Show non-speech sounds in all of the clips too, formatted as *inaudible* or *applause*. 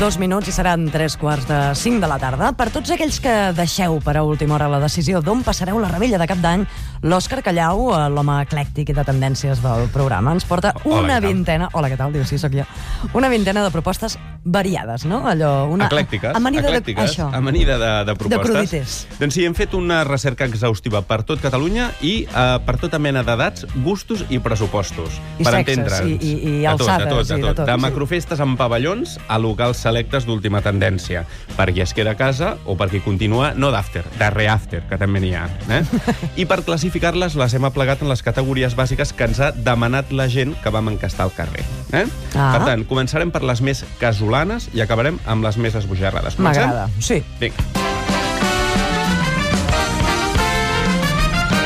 Dos minuts i seran tres quarts de cinc de la tarda. Per tots aquells que deixeu per a última hora la decisió d'on passareu la rebella de cap d'any, l'Òscar Callau, eh, l'home eclèctic i de tendències del programa, ens porta Hola, una què tal? vintena... Hola, què tal? Diu, sí, sóc jo. Una vintena de propostes variades, no? Allò, una... Eclèctiques, Amanida eclèctiques, de... Això. amanida de, de propostes. crudités. Doncs sí, hem fet una recerca exhaustiva per tot Catalunya i eh, per tota mena d'edats, gustos i pressupostos. I per sexes, i- entendre'ns. i- i De tot, de alçades, tot, i de de tot. tot, De sí. macrofestes en pavellons a locals selectes d'última tendència. Per qui es queda a casa o per qui continua, no d'after, de reafter, que també n'hi ha. *laughs* Eh? I per classificar-les, les hem aplegat en les categories bàsiques que ens ha demanat la gent que vam encastar al carrer. Eh? Ah. Per tant, començarem per les més casolanes i acabarem amb les més esbojarrades. Comencem? M'agrada, sí. Vinga.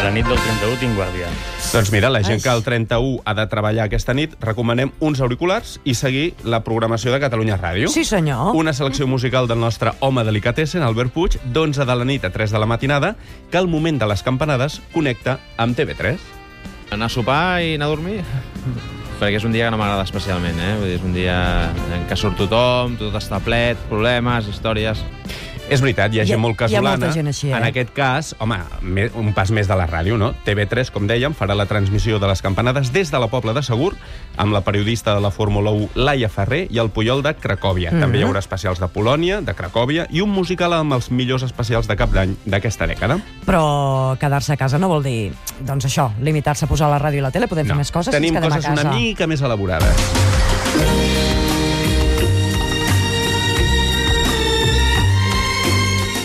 La nit del 31 tinc guàrdia. Doncs mira, la gent Ai. que el 31 ha de treballar aquesta nit, recomanem uns auriculars i seguir la programació de Catalunya Ràdio. Sí, senyor. Una selecció musical del nostre home delicatessen, Albert Puig, d'11 de la nit a 3 de la matinada, que al moment de les campanades connecta amb TV3. Anar a sopar i anar a dormir? *laughs* Perquè és un dia que no m'agrada especialment, eh? Vull dir, és un dia en què surt tothom, tot està plet, problemes, històries... És veritat, hi Hi ha ha- gent molt hi ha molta casolana. gent així, eh? En aquest cas, home, me- un pas més de la ràdio, no? TV3, com dèiem, farà la transmissió de les campanades des de la Pobla de Segur, amb la periodista de la Fórmula 1, Laia Ferrer, i el Puyol de Cracòvia. Mm -hmm. També hi haurà especials de Polònia, de Cracòvia, i un musical amb els millors especials de cap d'any d'aquesta dècada. Però quedar-se a casa no vol dir, doncs això, limitar-se a posar la ràdio i la tele, podem fer més coses si Tenim ens quedem coses a casa. una mica més elaborades.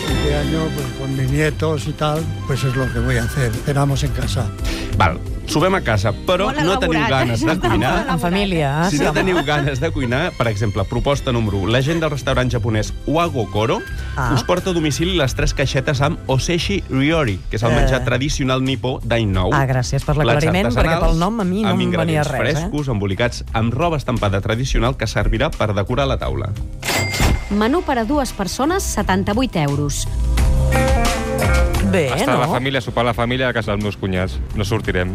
Este año, pues con mis nietos y tal, pues es lo que voy a hacer. Cenamos en casa. Val, sovem a casa, però Molt no elaborat, teniu ganes de això. cuinar. En família, eh? Si Sí, no home. teniu ganes de cuinar, per exemple, proposta número 1, la gent del restaurant japonès Wago Koro Ah. us porta a domicili les tres caixetes amb oseshi ryori, que és el Eh. menjar tradicional nipó d'any nou. Ah, gràcies per Plats l'aclariment, perquè artesanals, pel nom a mi no amb em venia ingredients res, eh? frescos, embolicats amb roba estampada tradicional que servirà per decorar la taula. Menú per a dues persones, 78 euros. Bé, Estar no? a la família, sopar a la família a casa dels meus cunyats. No sortirem.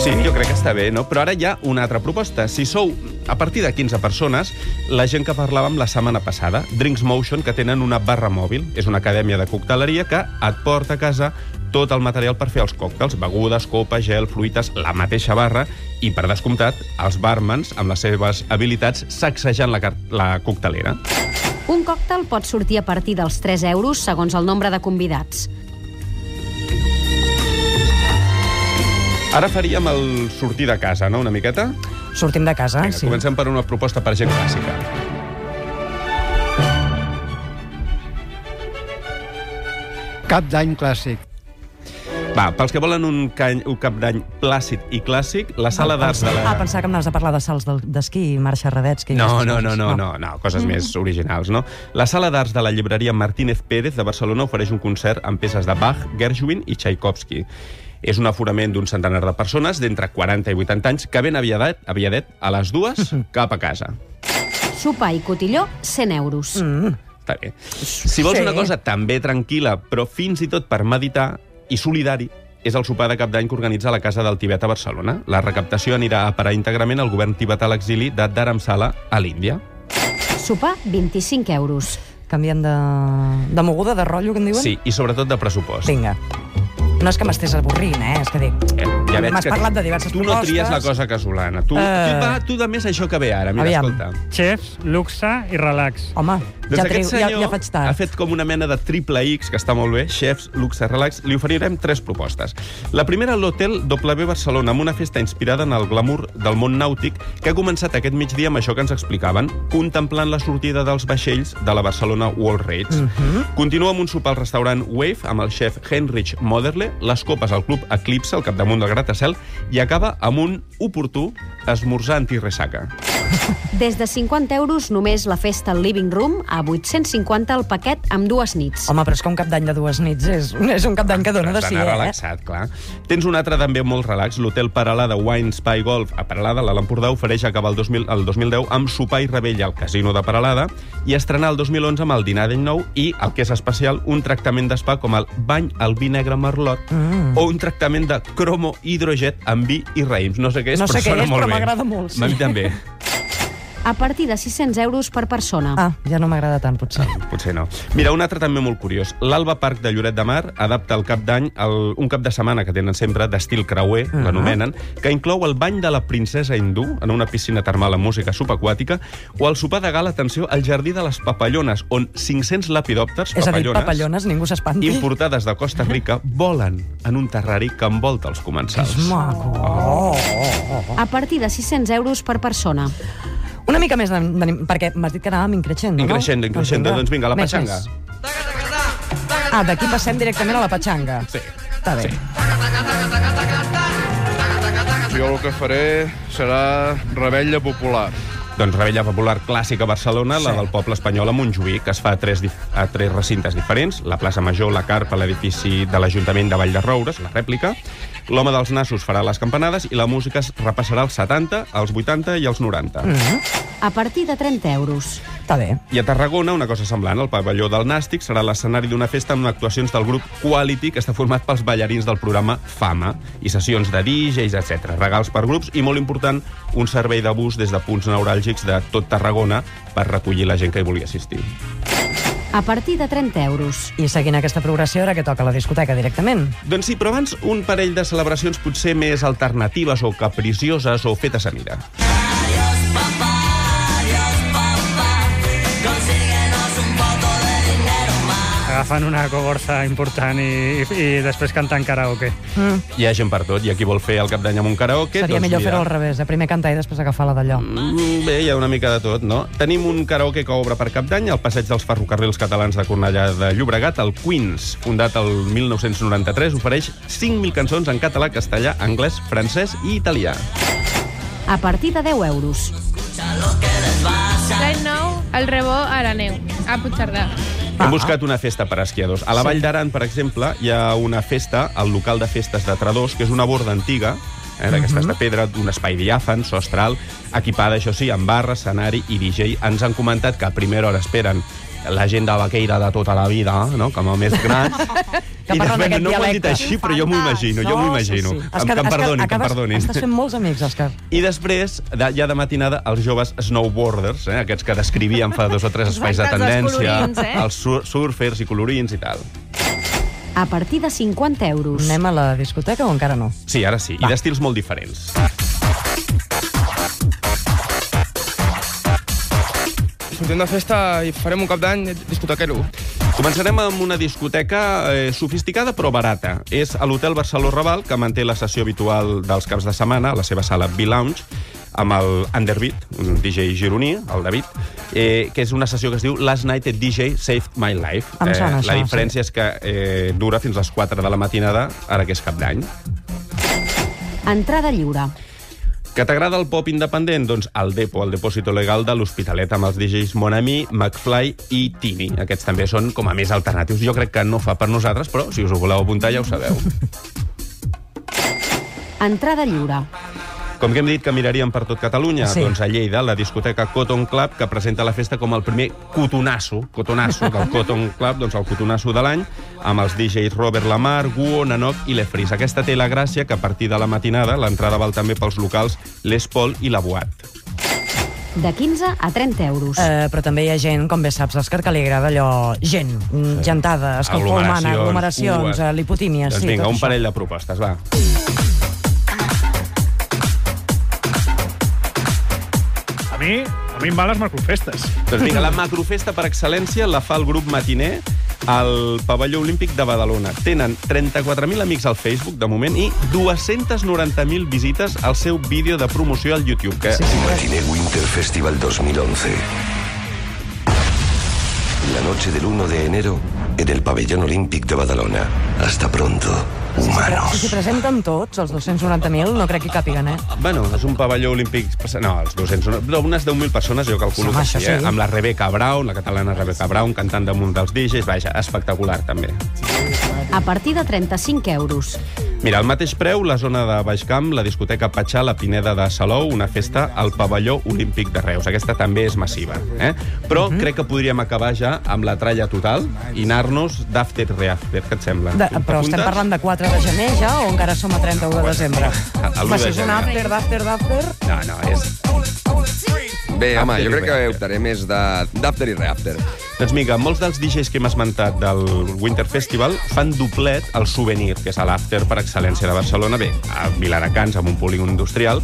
Sí, jo crec que està bé, no? Però ara hi ha una altra proposta. Si sou a partir de 15 persones, la gent que parlàvem la setmana passada, Drinks Motion, que tenen una barra mòbil, és una acadèmia de cocteleria que et porta a casa tot el material per fer els còctels, begudes, copa, gel, fruites, la mateixa barra i, per descomptat, els barmans, amb les seves habilitats, sacsejant la, car- la coctelera. Un còctel pot sortir a partir dels 3 euros segons el nombre de convidats. Ara faríem el sortir de casa, no?, una miqueta? Sortim de casa, Vinga, Ah, sí. Comencem per una proposta per gent clàssica. Cap d'any clàssic. Va, pels que volen un, cany, un cap d'any plàcid i clàssic, la sala d'arts de la... Ah, pensava que em anaves a parlar de salts del- d'esquí i marxa radets. Que No, no, no, no, no, no, coses Mm. més originals, no? La sala d'arts de la llibreria Martínez Pérez de Barcelona ofereix un concert amb peces de Bach, Gershwin i Tchaikovsky. És un aforament d'un centenar de persones d'entre 40 i 80 anys que ben aviadet, aviadet a les dues Mm-hmm. cap a casa. Sopar i cotilló, 100 euros. Mm. Està bé. Si vols Sí. una cosa també tranquil·la, però fins i tot per meditar i solidari, és el sopar de cap d'any que organitza la Casa del Tibet a Barcelona. La recaptació anirà a parar íntegrament al govern tibetà a l'exili de Dharamsala a l'Índia. Mm. Sopar, 25 euros. Canviem de, de moguda, de rotllo, que en diuen? Sí, i sobretot de pressupost. Vinga. No és que m'estés avorrint, eh? És que dic... Eh, veig M'has que parlat de diverses tu propostes. Tu no tries la cosa casolana. Tu, Eh. uh... tu, va, tu de més això que ve ara. Mira, Aviam. escolta. Xefs, luxe i relax. Home, Doncs ja, aquest triu, ja, senyor ja faig tard. ha fet com una mena de triple X, que està molt bé, xefs, luxe, relax. Li oferirem tres propostes. La primera, l'hotel W Barcelona, amb una festa inspirada en el glamour del món nàutic, que ha començat aquest migdia amb això que ens explicaven, contemplant la sortida dels vaixells de la Barcelona World Raids. Mm -hmm. Mhm. Continua amb un sopar al restaurant Wave, amb el xef Heinrich Moderle, les copes al club Eclipse, al capdamunt del Gratacel, i acaba amb un oportú esmorzar antiressaca. Des de 50 euros només la festa al Living Room, a 850 el paquet amb dues nits. Home, però és que un cap d'any de dues nits és, és un cap d'any que dona de Has si, d'anar eh? relaxat, clar. Tens un altre també molt relax, l'hotel Paralada Wine Spa i Golf a Paralada, l'Alt Empordà, ofereix acabar el, 2000, el 2010 amb sopar i rebella al casino de Paralada i estrenar el 2011 amb el dinar d'any nou i, el que és especial, un tractament d'espa com el bany al vi negre merlot mm. o un tractament de cromo hidroget amb vi i raïms. No sé què és, No sé què però sona és, molt però bé. *laughs* m'agrada molt, sí. A mi també. a partir de 600 euros per persona. Ah, ja no m'agrada tant, potser. Potser no. Mira, un altre també molt curiós. L'Alba Parc de Lloret de Mar adapta el cap d'any al- un cap de setmana que tenen sempre d'estil creuer, Ah. uh -huh. l'anomenen, que inclou el bany de la princesa hindú en una piscina termal amb música subaquàtica o el sopar de gala, atenció, al Jardí de les Papallones, on 500 lapidòpters, És a dir, papallones, papallones, ningú s'espanti. importades de Costa Rica, volen en un terrari que envolta els comensals. És maco. A partir de 600 euros per persona. Una mica més d'anim... d'anim- Perquè m'has dit que anàvem increixent, no? Increixent, increixent. Doncs Doncs vinga, la Més, patxanga. més. Ah, d'aquí passem directament a la patxanga. Sí. Està bé. Sí. Jo el que faré serà rebella popular. Doncs Rebella Popular Clàssica a Barcelona, la Sí. del poble espanyol a Montjuïc, que es fa a tres, dif- a tres recintes diferents, la plaça Major, la Carpa, l'edifici de l'Ajuntament de Vall de Roures, la rèplica, l'home dels nassos farà les campanades i la música es repassarà als 70, als 80 i als 90. Mm. A partir de 30 euros. Està bé. I a Tarragona, una cosa semblant, el pavelló del Nàstic serà l'escenari d'una festa amb actuacions del grup Quality, que està format pels ballarins del programa Fama, i sessions de DJs, etc. Regals per grups i, molt important, un servei de bus des de punts neuràlgics de tot Tarragona per recollir la gent que hi vulgui assistir. A partir de 30 euros. I seguint aquesta progressió, ara que toca la discoteca directament. Doncs sí, però abans un parell de celebracions potser més alternatives o capricioses o fetes a mida. Agafen una coborsa important i, i, i després canten karaoke. Hi ha gent per tot, i a qui vol fer el cap d'any amb un karaoke... Seria doncs millor mira. fer-ho al revés, eh? primer cantar i després agafar la d'allò. Mm, Bé, hi ha una mica de tot, no? Tenim un karaoke que obre per cap d'any al passeig dels ferrocarrils catalans de Cornellà de Llobregat, el Queens, fundat el 1993, ofereix 5.000 cançons en català, castellà, anglès, francès i italià. A partir de 10 euros. L'any nou, el rebó a la neu, a Puigcerdà. Ah, Hem buscat una festa per esquiadors. A la Vall d'Aran, per exemple, hi ha una festa al local de festes de Tradors, que és una borda antiga, eh, d'aquestes Mhm. de pedra, d'un espai diàfan, sostre alt, equipada, això sí, amb barra, escenari i DJ. Ens han comentat que a primera hora esperen la gent de vaqueira de tota la vida, no? com a més *laughs* gran. Que parlen després, d'aquest no m'ho han dit dialecte. així, però jo m'ho imagino, jo m'ho imagino. Em- Que em perdonin, que em perdonin. Estàs fent molts amics, Òscar. I després, de, ja de matinada, els joves snowboarders, eh, aquests que descrivíem fa dos o tres espais de Exacte, els tendència, colorins, eh? els sur surfers i colorins i tal. A partir de 50 euros. Anem a la discoteca o encara no? Sí, ara sí, i d'estils molt diferents. Sortim de festa i farem un cap d'any discotequero. Començarem amb una discoteca eh, sofisticada però barata. És a l'Hotel Barceló Raval, que manté la sessió habitual dels caps de setmana, a la seva sala B-Lounge, amb el Underbeat, un DJ gironí, el David, eh, que és una sessió que es diu Last Night at DJ Saved My Life. Eh, Em sona la això, diferència és que eh, dura fins les 4 de la matinada, ara que és cap d'any. Entrada lliure. Que t'agrada el pop independent? Doncs el Depo, el Depòsito Legal de l'Hospitalet, amb els DJs Monami, McFly i Tini. Aquests també són com a més alternatius. Jo crec que no fa per nosaltres, però si us ho voleu apuntar ja ho *laughs* sabeu. Entrada lliure. Com que hem dit que miraríem per tot Catalunya, Sí. sí. doncs a Lleida, la discoteca Cotton Club, que presenta la festa com el primer cotonasso, *laughs* cotonasso del Cotton Club, doncs el cotonasso de l'any, amb els DJs Robert Lamar, Guo, Nanoc i Lefris. Aquesta té la gràcia que a partir de la matinada l'entrada val també pels locals Les Paul i la Boat. De 15 a 30 euros. Eh, però també hi ha gent, com bé saps, Òscar, que li agrada allò... Gent, sí. gentada, escolta humana, aglomeracions, cues. eh, lipotímies... Doncs sí, vinga, tot un això. parell de propostes, va. A mi, a mi em van les macrofestes. Doncs vinga, la macrofesta per excel·lència la fa el grup matiner al pavelló olímpic de Badalona. Tenen 34.000 amics al Facebook, de moment, i 290.000 visites al seu vídeo de promoció al YouTube, que sí. Matiné Winter Festival 2011. La noche del 1 de enero en el Pabellón Olímpic de Badalona. Hasta pronto, Si s'hi humanos. presenten tots, els 290.000, no crec que hi càpiguen, eh? bueno, és un pavelló olímpic... No, els 200... No, unes 10.000 persones, jo Sí, calculo home, que això sí, eh? sí. Amb la Rebeca Brown, la catalana Rebeca Brown, cantant damunt dels DJs, vaja, espectacular, també. A partir de 35 euros. Mira, al mateix preu, la zona de Baixcamp, la discoteca Patxà, la Pineda de Salou, una festa al pavelló olímpic de Reus. Aquesta també és massiva, eh? Però Mhm. crec que podríem acabar ja amb la tralla total i anar-nos d'after reafter, què et sembla? De, però estem parlant de 4 de gener ja o encara som a 31 de desembre? A- a l'u de Va, si és un gener. after, d'after, d'after... No, no, és... Bé, home, Ah, After jo i crec que Reafter. optaré més de- d'After i Reafter. Doncs vinga, molts dels DJs que hem esmentat del Winter Festival fan doblet al Souvenir, que és a l'after per excel·lència de Barcelona, bé, a Viladecans, amb un polígon industrial,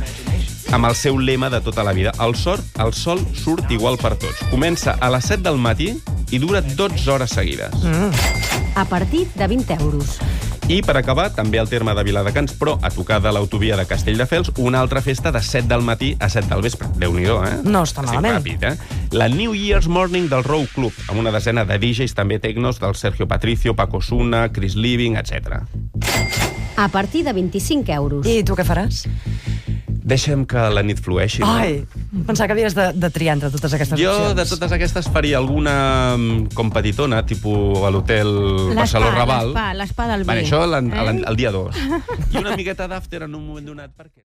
amb el seu lema de tota la vida. El sort, el sol surt igual per tots. Comença a les 7 del matí i dura 12 hores seguides. A partir de 20 euros. I, per acabar, també al terme de Viladecans, però a tocar de l'autovia de Castelldefels, una altra festa de 7 del matí a 7 del vespre. déu nhi eh? No està Estic malament. Ràpid, eh? La New Year's Morning del Row Club, amb una desena de DJs també tecnos del Sergio Patricio, Paco Suna, Chris Living, etc. A partir de 25 euros. I tu què faràs? Deixem que la nit flueixi. no? Ai, pensava que havies de, de triar entre totes aquestes Jo, opcions. de totes aquestes, faria alguna mm, competitona, tipus a l'hotel Barceló Raval. L'espa, l'espa del vi. Vale, això l'an- Eh? l'an- el dia 2. I una miqueta d'after en un moment donat, perquè...